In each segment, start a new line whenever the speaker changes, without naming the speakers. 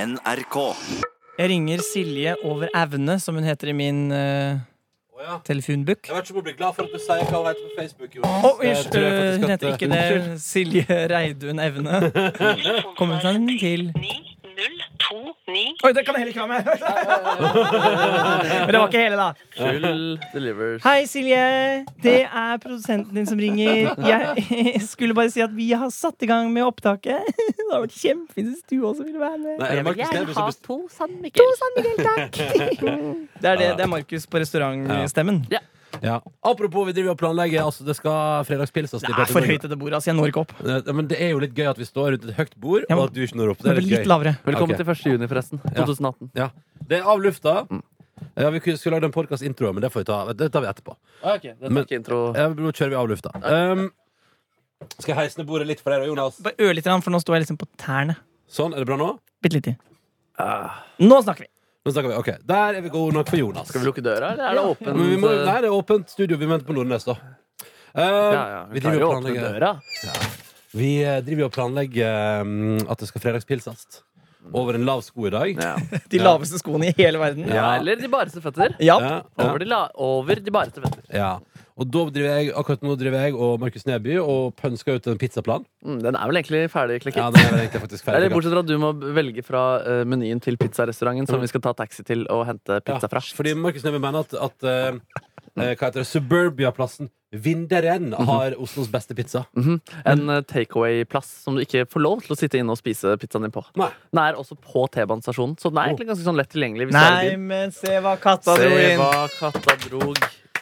NRK.
Jeg ringer Silje over evne, som hun heter i min eh,
Å, ja.
telefonbook.
Jeg vet ikke om jeg blir glad for at du sier hva hun heter på Facebook. Jonas.
Å,
Det
unnskyld,
tror jeg faktisk
hun
at-
heter ikke det. Silje Reidun Evne. Kommer hun frem til
9029.
Oi, det kan jeg heller ikke ha med! Men det var ikke hele, da.
Full delivers.
Hei, Silje. Det er produsenten din som ringer. Jeg skulle bare si at vi har satt i gang med opptaket. Det har vært kjempefint hvis du også ville være med.
Nei, er det Markus Neby som best-
to sandmikkel.
Det er det. Det er Markus på restaurantstemmen.
Ja. Apropos, vi driver og planlegger. Altså, det skal fredagspilses til
Det
Petter
er for
Norge.
høyt til det bordet, altså. Jeg når ikke opp.
Ja, Men det er jo litt gøy at vi står rundt et høyt bord,
Ja, men-
og at du ikke når opp. Det
Det
er
blir
litt
litt
gøy.
lavere.
Velkommen
Ok.
til 1. juni, forresten.
Ja.
2018.
Ja. Det er av lufta. Ja, vi kunne- skulle lagd en podkast-intro, men det, får vi ta. det tar vi etterpå.
Det er ikke intro.
Ja, men Nå kjører vi av lufta. Um, skal jeg heise ned bordet litt for deg, da, Jonas?
Bare ørlite grann, for nå står jeg liksom på tærne.
Sånn, er det bra nå?
Bitte litt til. Nå snakker vi!
Nå snakker vi. Ok, Der er vi gode nok for Jonas.
Skal vi lukke døra, eller er det åpent?
Men vi må, nei, det er åpent studio. Vi venter på Nordnes, da. Um,
ja, ja.
Vi
Vi
driver og
klarer å åpne
planlegger
døra.
Vi eh, driver og planlegger um, at det skal fredagspilses. Over en lav sko i dag.
Ja.
De laveste skoene i hele verden.
Ja, eller de bareste føtter.
Ja.
Ja, ja,
Over de, la over de bareste føtter.
ja. Og da driver jeg, akkurat nå driver jeg og Markus Neby og pønsker ut en pizzaplan.
Mm, den er vel egentlig ferdig klekket.
Ja, den er vel egentlig faktisk ferdig.
Eller bortsett fra at du må velge fra eh, menyen til pizzarestauranten som vi skal ta taxi til og hente pizza fra.
Mm. Ja, fordi Markus Neby mener at, at eh, eh, hva heter det, Suburbia-plassen Vinderen
Mhm.
har Oslos beste pizza.
En eh, takeaway-plass som du ikke får lov til å sitte inne og spise pizzaen din på.
Nei. Oh.
Den er også på T-banestasjonen, så den er egentlig ganske sånn lett tilgjengelig. Hvis du er i
Nei,
byen.
men se hva katta dro
Se
inn.
hva katta drog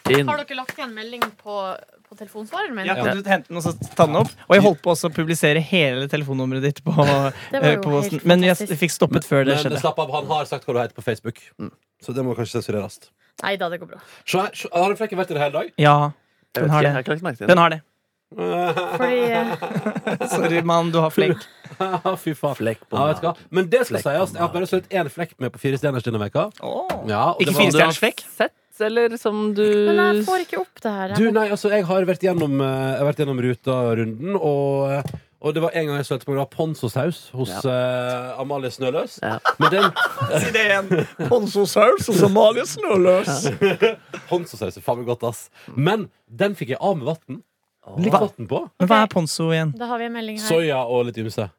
inn.
Har dere lagt igjen melding på, på telefonsvareren min?
Ja, kan du hente den og så ta den opp? Og jeg holdt på også å publisere hele telefonnummeret ditt. på,
Det var
eh,
jo
på
helt
Men jeg
fantastisk.
fikk stoppet før det
Men
skjedde.
slapp av, han har sagt hva du heter på Facebook.
Mm.
Så det må kanskje sensureres.
Nei da, det går bra.
Se her, se- Har den flekken vært der hele dag?
Ja,
Jeg vet
den har det.
ikke, jeg har ikke lagt merke til
den
den.
har det.
Fordi eh,
Sorry, mann, du har flekk.
Fy faen.
Flekk på
ja, vet du hva? Men det skal
Flekk på
sies. Jeg har bare sølt én flekk med på Fire stjerners denne veka. Ja, og det
Ikke
var-
fire stjerners flekk?
Sett, eller som du
Men jeg får ikke opp det her.
Du, nei, altså, jeg har vært gjennom, eh, jeg har vært gjennom ruta-runden, og, eh, og det var en gang jeg sølte på grunn av ponzosaus hos eh, Amalie Snøløs.
Ja.
Men den
Si det igjen. Ponzosaus og Somalia snøløs.
ponzosaus er faen meg godt, ass. Men den fikk jeg av med vann. Litt
Hva?
vann på.
Men hva er ponzo igjen?
Da har vi en melding her.
Soya og litt ymse.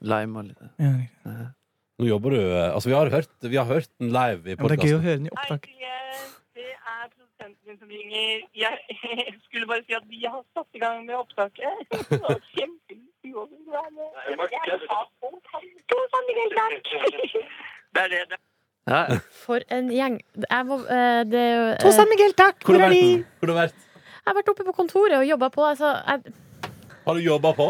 Lime og litt
Ja,
Nå jobber du eh, Altså, vi har hørt, vi har hørt den live i
men det er gøy å
podkasten.
høre den i
Hei,
opptak.
Silje. eh, Det er produsenten min som ringer. Jeg skulle bare si at vi har satt i gang med opptaket. Det var kjempefint å være med. Jeg sa to sand- to sandmikkeltak. Det er det. det.
ja.
For en gjeng. Jeg, må, eh, det, er jo, eh,
Hvor har du vært? Hvor har du vært?
jeg har vært oppe på kontoret og jobba på. Altså, jeg,
Har du jobba på?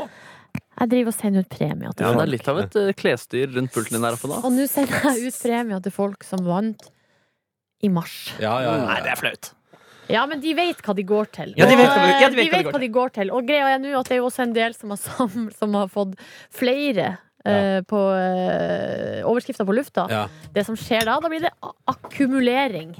jeg driver og sender ut premier til
Ja, men det er
folk.
litt av et eh, klesdyr rundt pulten din her oppe nå.
Og nå sender jeg ut premier til folk som vant i mars.
Ja, ja, ja.
Nei, det er flaut.
Ja, men de vet hva de går til.
Ja, de vet
Og,
hva de- ja, de vet hva de
eh,
går
hva de går til. Og greia er nå at det er jo også en del som har, sam, som har fått flere eh, på eh, overskrifter på lufta.
Ja.
Det som skjer da, da blir det a- akkumulering.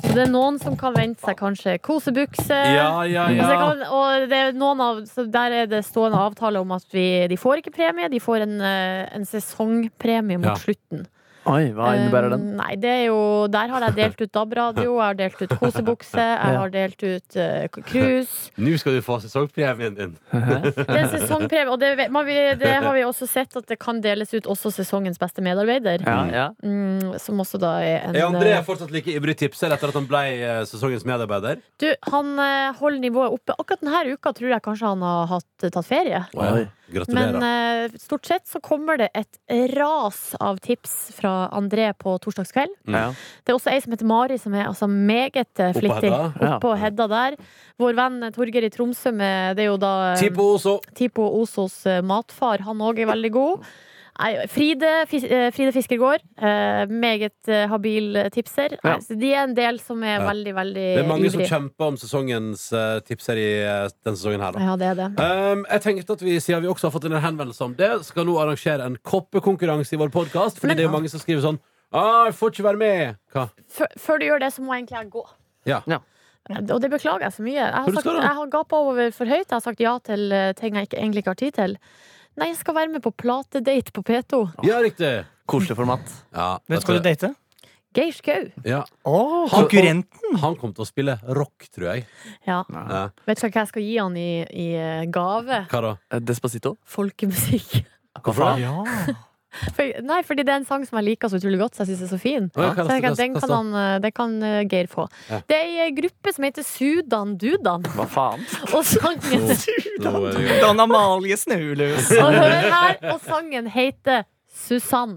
Så det er noen som kan vente seg kanskje kosebukse.
Ja, ja,
Og, så
ja.
kan, og det er noen av, så der er det stående avtale om at vi, de får ikke premie, de får en, eh, en sesongpremie mot
Ja.
slutten.
Oi, hva innebærer den?
Um, Nei, det er jo Der har jeg delt ut DAB-radio, jeg har delt ut kosebukse, jeg har delt ut eh, k- cruise.
Nå skal du få sesongpremien din.
Det er en sesongpremie, og det, vet- man, vil- det har vi også sett at det kan deles ut også sesongens beste medarbeider.
Ja, ja.
Mm, som også da er en
Er André
eh,
fortsatt like ivrig tipser etter at han ble eh, sesongens medarbeider?
Du, han eh, holder nivået oppe. Akkurat denne uka tror jeg kanskje han har hatt, eh, tatt ferie.
Oi.
Gratulerer.
Men eh, stort sett så kommer det et ras av tips fra André på torsdagskveld.
ja.
Det er også ei som heter Mari, som er altså meget eh,
Oppå
flittig.
Hedda?
Ja.
Oppå Hedda der. Vår venn eh, Torgeir i Tromsø med Det er jo da eh,
Tipo Oso.
Tipo Osos eh, matfar. Han òg er veldig god. Nei, Fride, Fis eh, Fride Fiskergård. eh, meget eh, habil eh, tipser.
Ja.
Nei, så de er en del som er
Ja.
veldig, veldig
Det er mange som
ivrige.
kjemper om sesongens eh, tipser i eh, denne sesongen her, da.
Ja, det er det.
Um, jeg tenkte at vi, Siden vi også har fått en henvendelse om det, skal nå arrangere en koppekonkurranse i vår podkast. Fordi
Men-
det er jo mange som skriver sånn «Ah, 'Jeg får ikke være med'. Hva?
Før, før du gjør det, så må egentlig jeg gå.
Ja.
Ja.
Og det beklager jeg så mye. Jeg
Hvor
har, sagt,
skal du?
jeg har gapa over for høyt. Jeg har sagt ja til eh, ting jeg ikke, egentlig ikke har tid til. Nei, jeg skal være med på platedate på P2.
Ja, riktig.
Koselig format.
Ja,
Hvem skal du
dette-
date?
Geir Skau.
ja.
Konkurrenten?
Han kom til å spille rock, tror jeg.
Ja.
Ja.
Vet du hva jeg skal gi han i, i eh, gave?
Hva da?
Eh, Despacito.
Folkemusikk.
Hvorfor det?
Ja.
For, nei, fordi det er en sang som jeg liker så utrolig godt, så jeg syns er så fin.
Ja, hva
Så jeg,
da?
kan- den, kan han, eh, den kan eh, Geir få.
Ja.
Det er ei eh, gruppe som heter Sudan Dudan,
Hva faen?
og sangen
Nå er det jo-
Dan Amalie Snauløs.
Og hør her, og sangen heter Susann.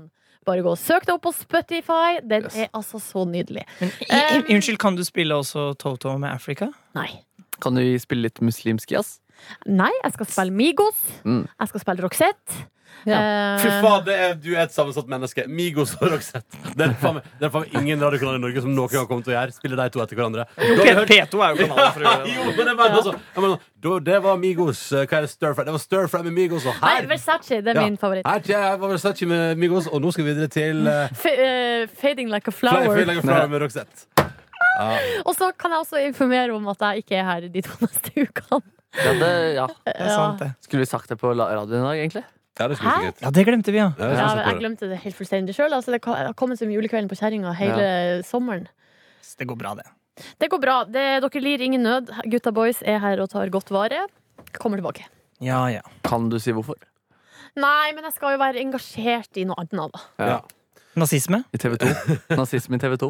Bare gå og søk det opp på Spotify. Den
Yes.
er altså så nydelig.
Men, i, i, unnskyld, kan du spille også Toto med Africa?
Nei.
Kan du spille litt muslimsk jazz?
Nei, jeg skal spille Migos.
Mm.
Jeg skal spille Roxette.
Ja.
Eh,
Fy faen, det er, du er et sammensatt menneske. Migos og Roxette. Det er faen meg det er faen meg ingen radiokanaler i Norge som noen gang kommer til å gjøre. Spille de to etter hverandre. Du hadde hørt-
P2 er jo kanalen for
Jo, men jeg mener altså, jeg mener, da- det var Migos. eh, Hva er det? Stir Fry? Det var Stir Fry med Migos. Og
Nei,
her
Versace det er
Ja.
min favoritt.
Her kommer jeg, var Versace med Migos, og nå skal vi videre til eh,
F eh, fading like a
Fly-
flower.
Fly Like a Flower med Roxette.
Og så kan jeg også informere om at jeg ikke er her de to neste ukene.
Ja, det, ja.
Det er sant, det.
Skulle vi sagt det på la- radioen i dag, egentlig?
Ja, det skulle
Hæ?
vi sikkert.
Ja, det glemte vi, ja.
Ja, det skulle
Ja,
vi
men jeg
sikkert.
glemte det helt fullstendig sjøl. Altså, det ka- det har kommet som julekvelden på kjerringa hele sommeren.
Det går bra, det.
Det går bra. Det, dere lir ingen nød. Gutta boys er her og tar godt vare. Kommer tilbake.
Ja, ja.
Kan du si hvorfor?
Nei, men jeg skal jo være engasjert i noe annet, da.
Ja.
Nazisme?
I TV 2. Nazisme i TV 2.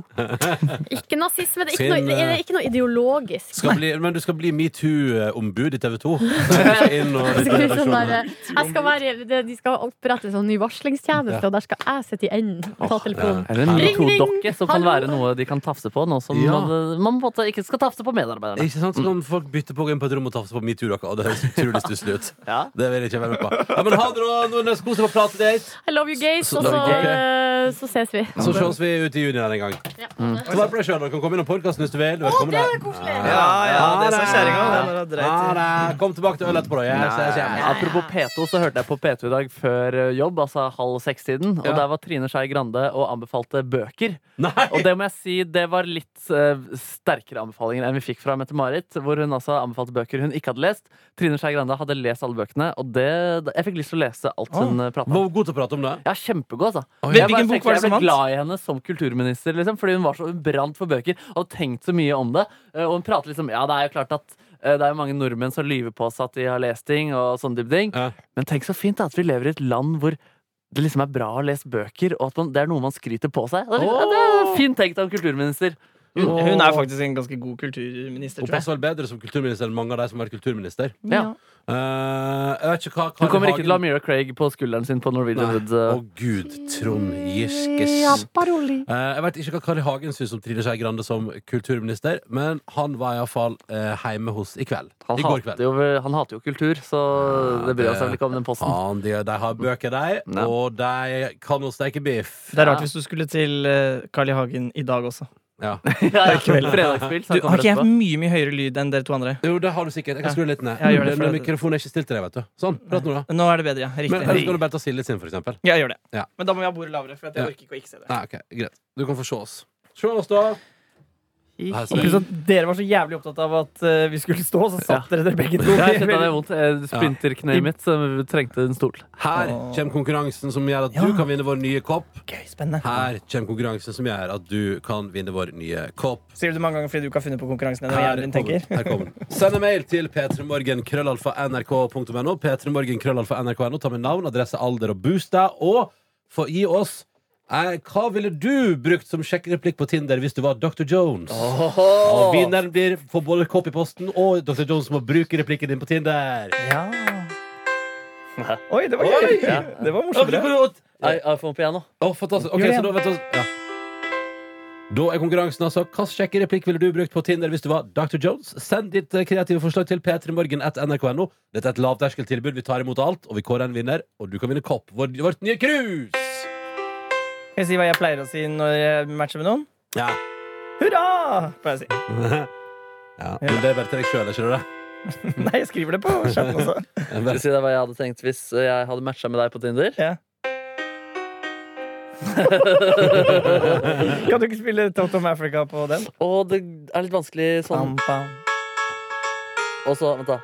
Ikke nazisme. Det er ikke
Sin,
noe, det er ikke noe ideologisk.
Skal bli, men du skal bli metoo-ombud i TV 2. Jeg
Det skal bli sånn der, jeg skal være, det- de skal opprette en sånn ny varslingstjeneste, og der skal jeg sitte i enden og ta telefonen.
Eller en
Ring, ring!
metoo-dokke, som kan
Hallo!
være noe de kan tafse på. Noe som
Ja.
man, eh, man på en måte ikke skal tafse på medarbeiderne.
Ikke sant? Så kan folk bytte på å gå inn på et rom og tafse på metoo-dere. Og det høres utrolig stusslig ut.
Ja.
Det vil jeg ikke være med på. Ja, men ha det, da, Nordnes. Kos deg på platedate.
I love you, gays,
Så-
og
så-
så,
ok.
eh, så ses vi.
Så ses vi ute i juni en gang.
Ja.
Ta vare på deg sjøl. Dere kan komme innom podkasten hvis du vil.
Å,
Velkommen
det
der.
er koselig!
ja, det sa kjerringa, det
var
Ha det. Kom tilbake til øl etterpå, da. Yes, yes, yes.
Apropos P2, så hørte jeg på P2 i dag før eh, jobb, altså halv seks-tiden. Og
Ja.
der var Trine Skei Grande og anbefalte bøker.
Nei!
Og det må jeg si, det var litt eh, sterkere anbefalinger enn vi fikk fra Mette-Marit, hvor hun altså anbefalte bøker hun ikke hadde lest. Trine Skei Grande hadde lest alle bøkene, og det, jeg fikk lyst til å lese alt hun eh, pratet om.
Var hun god til å prate om det?
Ja, kjempegod, altså.
Oi.
Jeg bare
Hvilken bok
tenkte
var det som
Jeg ble
vant?
glad i henne som kulturminister, liksom, fordi hun var så hun brant for bøker og hadde tenkt så mye om det. Eh, Og hun prater liksom Ja, det er jo klart at eh, det er jo mange nordmenn som lyver på seg at de har lest ting, og sånne type ting.
Ja.
Men tenk så fint da, at vi lever i et land hvor det liksom er bra å lese bøker, og at man, det er noe man skryter på seg. Det er, liksom,
Åh!
ja, det er fint tenkt av en kulturminister.
Hun, hun er faktisk en ganske god kulturminister,
Hun
tror jeg.
passer vel bedre som kulturminister enn mange av de som har vært kulturminister.
Ja.
Eh, jeg vet ikke hva
Hun
Kari
kommer ikke til å ha
Hagen-
Mira Craig på skulderen sin på Norwegian
Nei.
Wood.
Å
eh.
gud, Trond Giskes
Ja, paroli.
Eh, Jeg vet ikke hva Kari Hagen syns om Trine Skei Grande som kulturminister, men han var iallfall uh, hjemme hos i kveld.
Han,
I går
hater
kveld.
jo, han hater jo kultur, så det bryr han seg vel ikke om den posten.
Han, de, de har bøker, de,
Nei.
og de kan å steke biff.
Det er rart hvis du skulle til eh, Carl I. Hagen i dag også.
Ja.
Ja, ja. Fredagspils.
Du,
han
har
kommer
ikke jeg
etterpå.
mye mye høyere lyd enn dere to andre?
Jo, det har du sikkert. Jeg kan skru litt ned.
Ja, gjør det, for
Men
det-
Mikrofonen er ikke stilt til deg, vet du. Sånn. Prat nå, da.
Nå er det bedre, ja.
Men
Riktig.
eller skal du bare ta Silje sin, for eksempel?
Ja, jeg gjør det.
Ja.
Men da må vi ha bordet lavere, for at jeg
Ja.
orker ikke å ikke se det.
Nei, ok, greit. Du kan få se oss. Se oss, da. Her
Og
ser
pluss
jeg.
at dere var så jævlig opptatt av at eh, vi skulle stå, så satt dere der begge to.
Ja, jeg kjente det er vondt. Eh, Splinterkneet mitt som trengte en stol.
Her kommer konkurransen som gjør at
Ja.
du kan vinne vår nye kopp.
Gøy, spennende.
Her kommer konkurransen som gjør at du kan vinne vår nye kopp.
Sier du det mange ganger fordi du ikke har funnet på konkurransen ennå? Hjernen din tenker.
her kommer den. Send en mail til p3morgen.krøllalfa.nrk.no. p3morgen.krøllalfa.nrk.no Ta med navn, adresse, alder og bostad. Og få gi oss eh, Hva ville du brukt som sjekkereplikk på Tinder hvis du var Dr. Jones? Og vinneren blir får både kopp i posten, og Dr. Jones må bruke replikken din på Tinder.
Ja. Oi, det var gøy!
Oi!
Det var
Ja, men
morsomt.
du kan jo-
I- iPhone piano.
Å, fantastisk. Ok,
Gjør det
så da, vet du, ja. da er konkurransen altså Hva sjekkereplikk ville du brukt på Tinder hvis du var Dr. Jones? Send ditt eh, kreative forslag til p3morgen.nrk.no. Dette er et lavterskeltilbud. Vi tar imot alt, og vi kårer en vinner. Og du kan vinne kopp. Vår, vårt nye krus!
Skal jeg si hva jeg pleier å si når jeg matcher med noen?
Ja.
Hurra! pleier jeg å si.
ja. Men det er bare til deg sjøl, ikke sant?
Nei, jeg skriver det på chatten også.
Skal jeg si deg hva jeg hadde tenkt hvis eh, jeg hadde matcha med deg på Tinder?
Ja. kan du ikke spille Toto om Africa på den?
Og det er litt vanskelig sånn. Og så, vent da.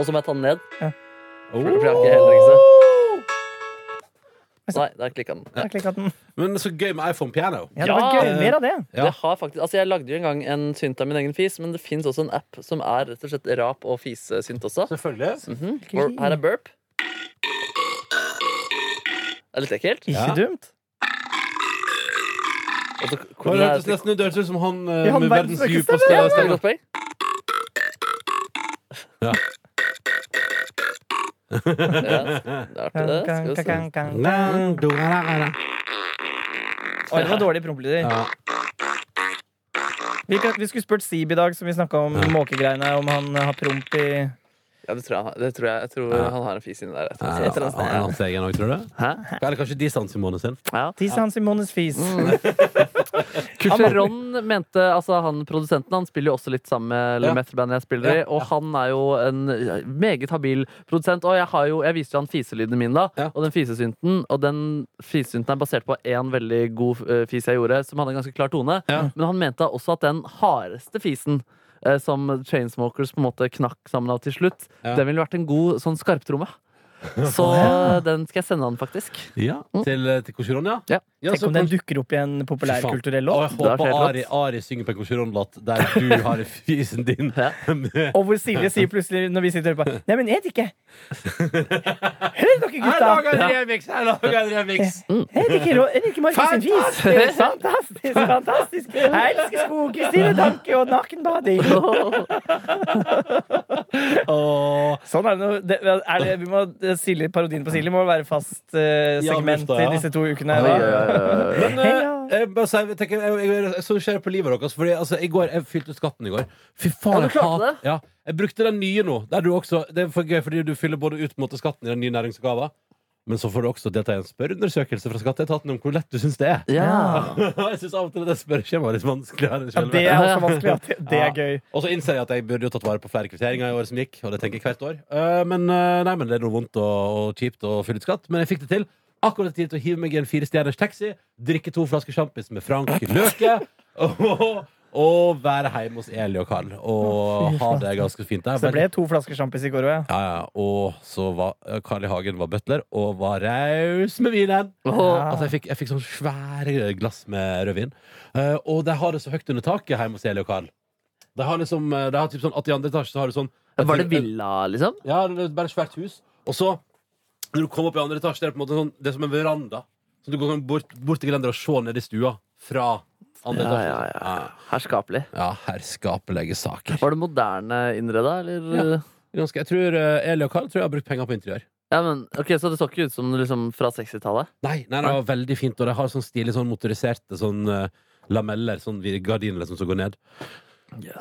Og så må jeg ta den ned.
Ja.
For det blir ikke heller ikke så. Nei, der klikka den.
Jeg klikker den.
Men så gøy med iPhone Piano.
Ja, det var
Ja.
gøy. Mer av det.
Ja.
Det har faktisk, altså jeg lagde jo en gang en synt av min egen fis, men det fins også en app som er rett og slett rap- og fisesynt også.
Selvfølgelig.
Mhm. Hvor- Her er burp. Det er litt ekkelt.
Ikke
Ja.
dumt.
Og så
Det
kommer
hørtes
det
nesten ut det hørtes ut som han eh,
Ja, han
med verdens
verdens
dypeste
Ja, det er et
stemme.
godt poeng.
Ja.
Ja, det er artig, det. Skal vi se.
Kan, kan, kan, kan. Oi, det var dårlige prompelyder.
Ja.
Vi, kan- vi skulle spurt Sib i dag, som vi snakka om måkegreiene, om han har promp i
Ja, det tror jeg, han har. det tror jeg, jeg tror
Ja.
han har en fis inni der. Jeg tror,
Ja,
jeg tror han-
han er hans egen også, tror du?
Hæ?
Eller kanskje distansemåneden sin?
Ja.
Tisa hans i Mones fis.
Mm. Coucheron mente altså han produsenten Han spiller jo også litt sammen med
Ja.
ja. metal-bandet jeg spiller i.
Ja,
Og han er jo en meget habil produsent. Og jeg, har jo, jeg viser jo han fiselydene mine, da.
Ja.
Og den fisesynten. Og den fisesynten er basert på én veldig god eh, fis jeg gjorde, som hadde en ganske klar tone.
Ja.
Men han mente også at den hardeste fisen eh, som Chainsmokers på en måte knakk sammen av til slutt,
Ja.
den ville vært en god sånn skarptromme. Så den skal jeg sende han, faktisk.
Ja. Til, til Korsjon, ja?
Ja.
Tenk
så
om den
kanskje-
dukker opp i en populærkulturell låt.
Og jeg
Det er
håper
flere låt.
Ari, Ari synger på en Korsjon-låt der du har fisen din.
Ja.
Og hvor Silje sier plutselig når vi sitter og hører på Nei, men jeg vet ikke. Hør dere, gutta! Mm.
en remix! Jeg lager en remix!
Jeg vet ikke, Ro- jeg vet ikke Markus sin fis. Fantastisk! fantastisk Jeg elsker skogkristine tanker og nakenbading.
Åh.
Sånn er det nå. Det, er det, vi må, Silje, parodien på Silje må være fast eh,
Ja,
segment
lufta, ja.
i disse to ukene.
Oi,
da.
oi, oi, oi.
Men eh,
Heia.
jeg, bare sier- jeg, tenker, jeg, jeg, jeg er så nysgjerrig på livet deres. Fordi, altså, i går, jeg fylte ut skatten i går. Fy
Ja,
faen,
du
jeg
klarte
hat- Ja, jeg brukte den nye nå. Der du også, det er for gøy, fordi du fyller både ut på en måte, skatten i den nye næringsgava, men så får du også delta i en spørreundersøkelse fra Skatteetaten om hvor lett du syns det er.
Ja.
jeg syns av og til at det spørreskjemaet er litt vanskeligere enn
Ja,
selve.
det er også vanskelig. At det, det
Ja.
er gøy.
Og så innser jeg at jeg burde jo tatt vare på flere kvitteringer i året som gikk. Og det tenker jeg hvert år. Eh, men, eh, nei, men det er noe vondt og, og kjipt å fylle ut skatt. Men jeg fikk det til. Akkurat tid til å hive meg i en firestjerners taxi, drikke to flasker sjampis med Frank Løke. Og, og være hjemme hos Eli og Karl og ha det ganske fint der.
Så det ble to flasker sjampis i går òg, ja.
ja, ja, og så var eh, Carl I. Hagen var butler og var raus med vinen.
Ja.
Altså, jeg fikk, jeg fikk sånn svære glass med rødvin. Eh, og de har det så høyt under taket hjemme hos Eli og Carl. De har liksom, eh, de har typ sånn at I andre etasje så har du sånn
Var det villa, liksom?
Ja, det er bare et svært hus. Og så, når du kommer opp i andre etasje, det er det på en måte sånn, det er som en veranda. Så du går sånn bort, bort til grenderen og ser ned i stua fra andre
Ja,
etasje.
ja, ja. Herskapelig.
ja herskapelige saker.
Var det moderne innreda, eller? Ja.
Ganske, jeg tror eh, Eli og Carl tror jeg har brukt penger på interiør.
men, ok, Så det så ikke ut som liksom, fra 60-tallet?
Nei, nei, det var veldig fint, og de har sånn stilig sånn motoriserte sånn eh, lameller, sånn vir- gardiner liksom, som går ned.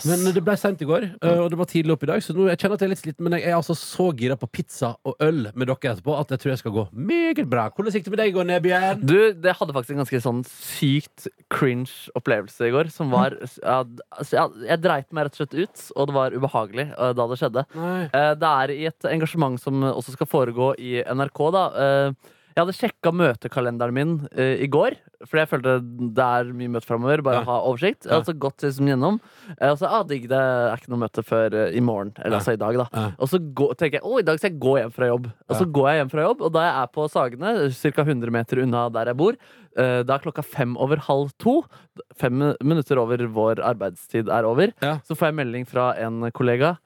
Men det ble seint i går, eh, og det var tidlig opp i dag, så nå, jeg kjenner at jeg er litt sliten, men jeg er altså så gira på pizza og øl med dere etterpå at jeg tror jeg skal gå meget bra. Hvordan gikk det med deg i går, Nebjørn?
Du, det hadde faktisk en ganske sånn sykt cringe opplevelse i går. Som var ja, altså, jeg, jeg dreit meg rett og slett ut, og det var ubehagelig eh, da det skjedde.
Nei.
Eh, Det er i et engasjement som også skal foregå i NRK, da. Eh, Jeg hadde sjekka møtekalenderen min eh, i går, for jeg følte det er mye møte framover. Bare
Ja.
ha oversikt. Jeg
Ja.
har altså gått liksom gjennom. eh, Og så ah, digg, det er ikke noe møte før eh, i morgen. Eller
Ja.
altså i dag, da.
Ja.
Og så gå, tenker jeg å, i dag skal jeg gå hjem fra jobb. Og så går jeg hjem fra jobb, og da jeg er på Sagene, ca. 100 meter unna der jeg bor, eh, da er klokka fem over halv to, fem minutter over vår arbeidstid er over,
Ja.
så får jeg melding fra en kollega.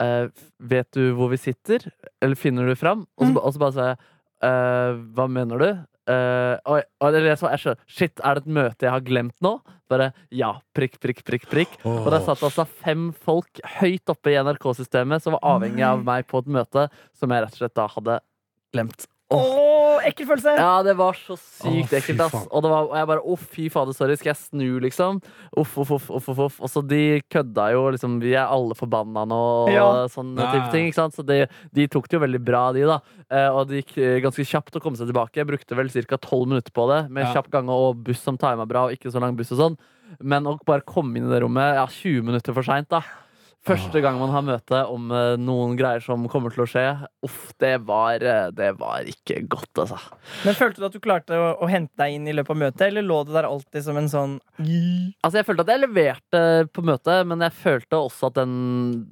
eh, vet du hvor vi sitter? Eller finner du fram? Og så, ba- og så bare sa jeg eh, Hva mener du? Eh, og, jeg- og jeg, jeg, så, jeg skjønner, Shit, er det et møte jeg har glemt nå? Bare ja, prikk, prikk, prikk, prikk. Og der satt altså fem folk høyt oppe i NRK-systemet som var avhengig av meg på et møte som jeg rett og slett da hadde glemt.
Å, ekkel følelse!
Ja, det var så
Å,
sykt
fy
ekkelt, ass.
faen.
Og, det var, og jeg bare å, fy fader, sorry, skal jeg snu, liksom? Uff, uff, uff, uff, uff, uff. Og så de kødda jo, liksom, vi er alle forbanna nå, og
Ja.
sånne
Nei.
type ting, ikke sant? Så de, de tok det jo veldig bra, de, da. Eh, og det gikk eh, ganske kjapt å komme seg tilbake. Jeg brukte vel ca. tolv minutter på det, med
Ja.
kjapp gange og buss som tima bra, og ikke så lang buss og sånn. Men å bare komme inn i det rommet ja, 20 minutter for seint, da. Første gang man har møte om eh, noen greier som kommer til å skje. Uff, det var, eh, det var ikke godt, altså.
Men Følte du at du klarte å, å hente deg inn i løpet av møtet, eller lå det der alltid som en sånn
Altså, jeg følte at jeg leverte på møtet, men jeg følte også at den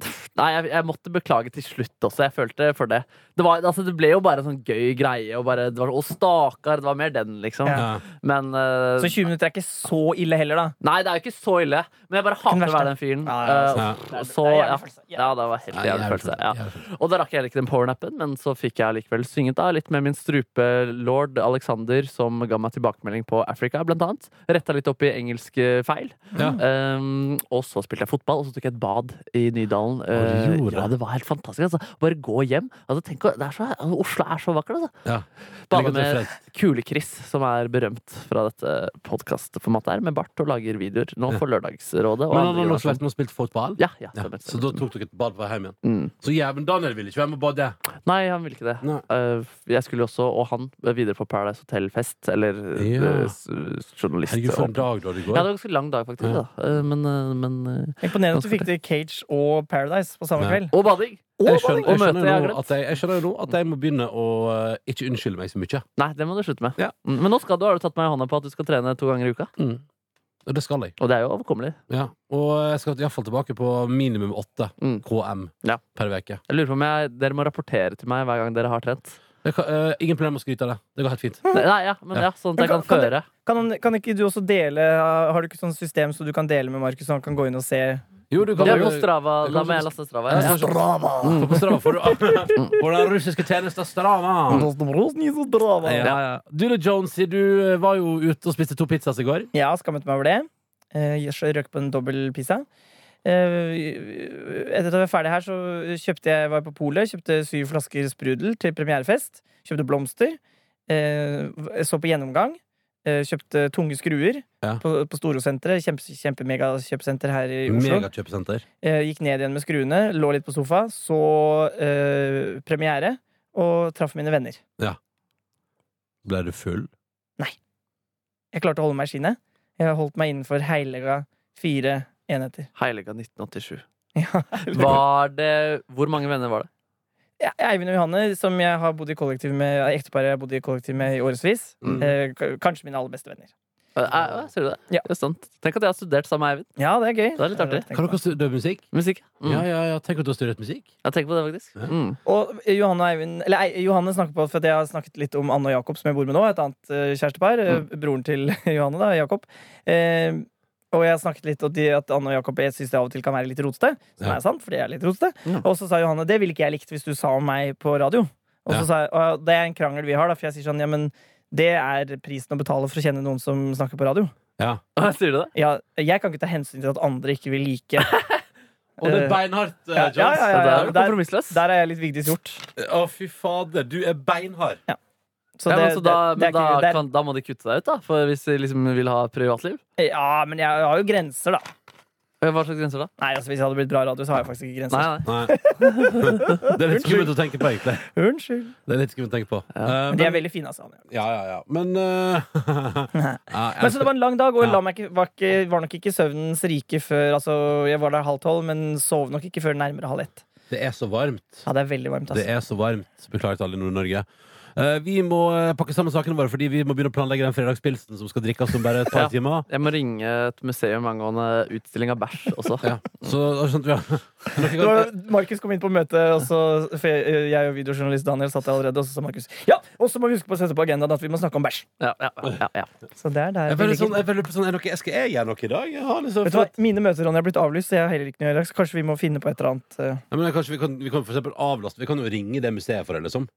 Nei, jeg, jeg måtte beklage til slutt også. Jeg følte for det. Det, var, altså, det ble jo bare en sånn gøy greie. Og bare, det var, å, stakkar! Det var mer den, liksom.
Ja.
Men eh,
Så 20 minutter er ikke så ille heller, da.
Nei, det er jo ikke så ille. Men jeg bare hater å
verste.
være den fyren.
Ja, ja, ja.
Eh,
Ja.
og så,
Det er
ja,
jævlig følelse.
ja, det var helt
Nei,
jævlig
jævlig
følelse.
følelse.
Ja. Og da rakk jeg heller ikke den powernappen, men så fikk jeg likevel synget da litt med min strupelord Alexander, som ga meg tilbakemelding på Africa, blant annet. Retta litt opp i engelske feil.
Ja.
Um, og så spilte jeg fotball, og så tok jeg et bad i Nydalen.
Å, du
Eh,
gjorde
ja,
det.
det var helt fantastisk. Altså. Bare gå hjem. Altså, tenk, å- det er så, altså, Oslo er så vakkert, altså.
Ja.
Bada
Legg ut
med
referens.
Kule-Chris, som er berømt fra dette podkastformatet her, med bart og lager videoer. Nå for Lørdagsrådet. Og
Men han
andre
har også
generasjon.
vært med og spilt fotball?
ja, ja,
Ja,
stemmer,
Så
stemmer,
da
stemmer.
tok dere et bad på vei hjem igjen?
Mm.
Så jævlen Daniel ville ikke være med og bade.
Nei, han ville ikke det.
Nei.
Eh, jeg skulle jo også, og han, videre på Paradise Hotel-fest. Eller eh,
Ja.
s- journalist.
Herregud, for en
ja,
dag da det
det
går.
var en ganske lang dag, faktisk.
Ja.
Da. Eh, men, eh, men eh,
Imponerende at du fikk til Cage og Paradise på samme
Ja.
kveld.
Og bading!
jeg, skjønner, jeg,
Og møte
skjønner
jeg har
nå
glemt.
at jeg, jeg skjønner nå at jeg må begynne å eh, ikke unnskylde meg så mye.
Nei, det må du slutte med.
Ja.
Mm, Men nå skal du, har du tatt meg i hånda på at du skal trene to ganger i uka.
Mm.
Og det skal jeg.
Og det er jo overkommelig.
Ja. Og jeg skal iallfall tilbake på minimum åtte
Mm.
KM
Ja.
per uke.
Jeg lurer på om jeg, dere må rapportere til meg hver gang dere har trent.
Jeg kan- eh, ingen problemer med å skryte av det. Det går helt fint.
Nei, nei, ja, men
Ja.
ja, sånn at
Men
jeg kan
kan- kan
føre.
Kan, kan ikke du også dele Har du ikke sånn system så du kan dele med Markus, så han kan gå inn og se?
Jo, du kan
Ja, på Strava.
det
Da
kan
må jeg
også-
laste Strava.
Ja,
Ja.
Strava. For På Strava får du
Mm.
På den russiske tjenesten Strava. Ja, ja. Du, da, Jonesy, du eh, var jo ute og spiste to pizzas i går.
Jeg har skammet meg over det. Eh, Jeg sjøl røk på en dobbel pizza. Eh, Etter at jeg var ferdig her, så kjøpte jeg var på polet. Kjøpte syv flasker sprudel til premierefest. Kjøpte blomster. eh, v- Så på gjennomgang. eh, Kjøpte tunge skruer
Ja.
på, på Storosenteret. Kjempe, kjempemegakjøpesenter her i Oslo.
Megakjøpesenter.
Eh, Gikk ned igjen med skruene, lå litt på sofa, så eh, premiere og traff mine venner.
Ble du full?
Jeg klarte å holde meg i skinnet. Jeg holdt meg innenfor heilega fire enheter.
Heilige 1987.
Ja.
Var det Hvor mange venner var det?
Ja, Eivind og Johanne, som jeg har bodd i kollektiv med ekteparet jeg har bodd i kollektiv med i årevis.
Mm.
eh, k- Kanskje mine aller beste venner.
Eh, eh, Ser du det?
Ja.
Det er sant. Tenk at jeg har studert sammen med Eivind.
Ja, det er gøy.
Det er litt
har jeg
artig.
tenkt
Kan
på.
dere studere musikk?
Musikk. Mm.
Ja, ja, ja. Tenk at du har studert musikk.
Jeg tenker på det, faktisk.
Ja.
Mm.
Og eh, Johanne, og Eivind, eller, ei, Johanne snakker på For at jeg har snakket litt om Anne og Jakob, som jeg bor med nå. Et annet eh, kjærestepar. eh,
Mm.
Broren til Johanne, da. Jakob. Eh, og jeg har snakket litt om de, at Anne og Jakob jeg synes det av og til kan være litt rotete. Som
Ja.
er sant, fordi jeg er litt rotete.
Ja.
Og så sa Johanne det ville ikke jeg likt hvis du sa om meg på radio. Og, så
Ja.
sa jeg, og det er en krangel vi har, da, for jeg sier sånn ja, men det er prisen å betale for å kjenne noen som snakker på radio.
Ja.
Sier du det?
Ja, jeg kan ikke ta hensyn til at andre ikke vil like.
Og det
Eh,
er beinhardt, eh,
ja,
Jones.
ja, ja,
Ja, det
ja,
er jo
der-
kompromissløs.
Der er jeg litt Vigdis Hjort.
Å, fy fader. Du er beinhard.
Så
ja, men
det-
så da,
det- det er
men da,
ikke- det er-
kan, da må de kutte deg ut, da. For hvis de liksom vil ha et privatliv.
Ja, men jeg har jo grenser, da.
Eh, Hva slags grenser da?
Nei, altså Hvis jeg hadde blitt bra radio, så har jeg faktisk ikke
Nei,
grenser.
nei.
Nei. Det er litt skummelt å tenke på, egentlig.
Unnskyld.
Det er litt skummelt å tenke på. Eh,
Men de er veldig fine, altså. han, ja.
Ja, ja, ja. Men eh, ja, jeg-
Men så det var en lang dag, og jeg
Ja.
la meg ikke, var, ikke, var nok ikke søvnens rike før Altså, jeg var der halv tolv, men sov nok ikke før nærmere halv ett.
det er så varmt.
Ja, det er veldig varmt, altså.
Det er så varmt. Beklager til alle i Nord-Norge. Eh, vi må eh, pakke sammen sakene våre, fordi vi må begynne å planlegge den fredagspilsen som skal drikkes om bare et par
Ja.
timer.
Jeg må ringe et museum angående utstilling av bæsj også.
Ja. Så da skjønte vi ja. Noe
Det var,
godt.
Markus kom inn på møtet, og så, for jeg, jeg og videojournalist Daniel satt der allerede. Og så sa Markus ja, og så må vi huske på å sette på agendaen at vi må snakke om bæsj.
Ja, ja, ja, ja.
Så det er der
Jeg
vi
føler
ligger.
sånn, jeg føler på sånn er noe, Skal jeg gjøre noe i dag? Jeg har liksom
Vet du hva, Mine møter Ronny, har blitt avlyst, så jeg har heller ikke noe å gjøre. Så kanskje vi må finne på et eller annet. eh,
Ja, men kanskje vi kan, vi kan for eksempel avlaste Vi kan jo ringe det museet for det, liksom.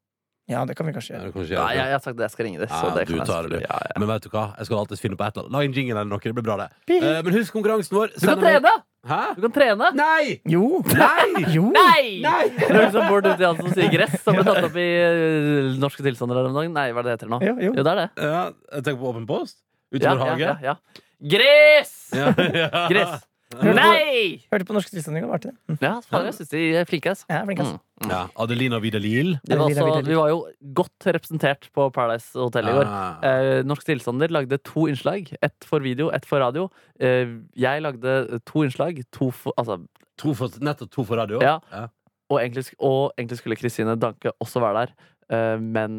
Ja, det kan vi kanskje
Ja,
gjøre.
det kan kanskje
ja
gjøre det.
jeg, jeg har sagt det, jeg skal ringe det. Så
Ja,
det
du
kan jeg
tar det, du.
selvfølgelig- Ja, ja.
Men vet du hva? Jeg skal alltid finne på et eller annet. Lag en jingle eller noe. Det blir bra, det.
Pihi.
Eh, men husk konkurransen vår.
Du
Send en-
kan trene!
Hæ?
Du kan trene!
Nei!
Jo!
Nei!
Jo!
Nei!
Nei!
Det er liksom Bård Dutti Hansen som sier gress, som ble tatt opp i eh, Norske tilstander her om dagen. Nei, hva er det det heter nå?
Jo, jo.
det er det.
Ja, jeg tenker på åpen post.
Ja,
Utover
ja, ja,
hage.
ja. Gress!
Ja.
Gress!
Ja.
Nei!
Hørte på norske tilstander, det var artig. det. Mm.
Ja, faen, jeg syns de er flinke, altså.
Ja, flink, altså.
Mm.
Ja, Adelina Vidalil.
De var
Videre,
også,
videre.
vi var jo godt representert på Paradise Hotel i går.
Ah.
Eh, Norsk Tilstander lagde to innslag. Ett for video, ett for radio. Eh, jeg lagde to innslag, to for, altså,
To for, nettopp to for radio.
Ja. og, egentlig, sk- og egentlig skulle Kristine Danke også være der, eh, men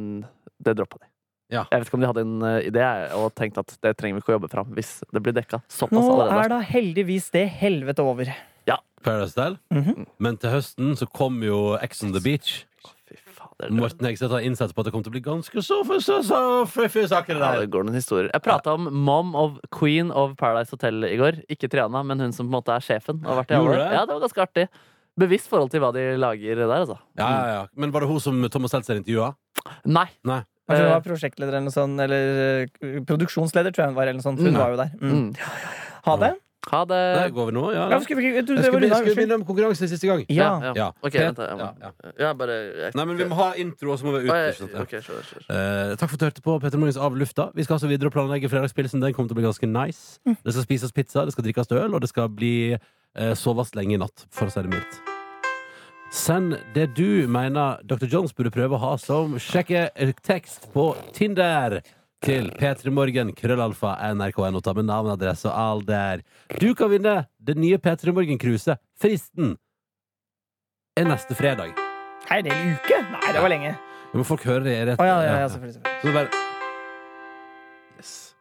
det droppa de.
Ja.
Jeg vet ikke om de hadde en eh, idé jeg, og tenkte at det trenger vi ikke å jobbe fram hvis det blir dekka. Såpass
Nå
allerede.
er da heldigvis det helvete over.
Ja,
Paradise-style.
Mhm.
Men til høsten så kommer jo X on the Beach.
Å, Fy fader. det-
Morten Hegseth har innsett på at det kommer til å bli ganske så fy- så- så fluffy saker.
Ja,
Der.
det går noen historier. Jeg prata om mom of Queen of Paradise Hotel i går. Ikke Triana, men hun som på en måte er sjefen. og har vært i alle.
Gjorde det?
Ja, det var ganske artig. Bevisst forhold til hva de lager der, altså.
Ja, ja, ja. Men var det hun som Thomas Seltzer intervjua?
Nei.
Kanskje Altså, hun
Eh.
var prosjektleder eller noe sånt. Eller eh, produksjonsleder, tror jeg hun var. Eller noe sånt. Hun
Mm.
var jo der. Mm.
Mm.
Ha det.
Ha
Der
det.
går vi nå, ja.
Ja,
ja.
men skulle vi ikke- jeg trodde
Jeg
det var
skulle, jeg
unna,
skulle
unnskyld.
begynne med konkurransen siste gang.
Ja.
Ja.
Ok,
Per-
vent, da, jeg må-
ja,
Ja, bare jeg-
Nei, men vi må ha intro, og så må vi ut.
Å,
ikke sant?
jeg-
Ja.
ok, sure, sure.
Eh, takk for at du hørte på Petter Morgens Av lufta. Vi skal altså videre og planlegge fredagspilsen. Den kommer til å bli ganske nice. Det skal spises pizza, det skal drikkes øl, og det skal bli uh, soves lenge i natt, for å si det mildt. Send det du mener Dr. Jones burde prøve å ha som sjekketekst på Tinder til p3morgen, krøllalfa, nrk.no. Ta med navn, adresse og all der. Du kan vinne det nye P3 Morgen-cruiset. Fristen er neste fredag.
Hei, det er en uke? Nei, det var lenge.
Men folk hører det rett.
Å, ja, ja, ja, selvfølgelig, selvfølgelig.
Så det bare Yes.